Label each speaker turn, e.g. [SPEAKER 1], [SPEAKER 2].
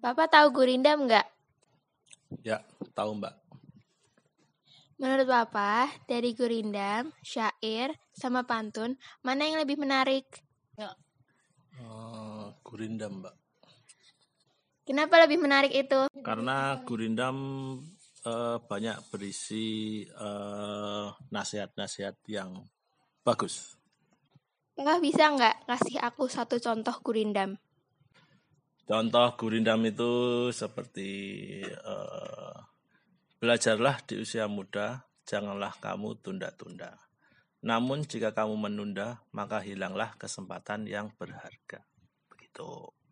[SPEAKER 1] Bapak tahu gurindam nggak?
[SPEAKER 2] Ya, tahu Mbak.
[SPEAKER 1] Menurut Bapak, dari gurindam, syair, sama pantun, mana yang lebih menarik?
[SPEAKER 2] Eh, gurindam Mbak.
[SPEAKER 1] Kenapa lebih menarik itu?
[SPEAKER 2] Karena gurindam eh, banyak berisi eh, nasihat-nasihat yang bagus.
[SPEAKER 1] Bapak bisa nggak kasih aku satu contoh gurindam?
[SPEAKER 2] Contoh gurindam itu seperti eh, belajarlah di usia muda, janganlah kamu tunda-tunda. Namun jika kamu menunda, maka hilanglah kesempatan yang berharga. Begitu.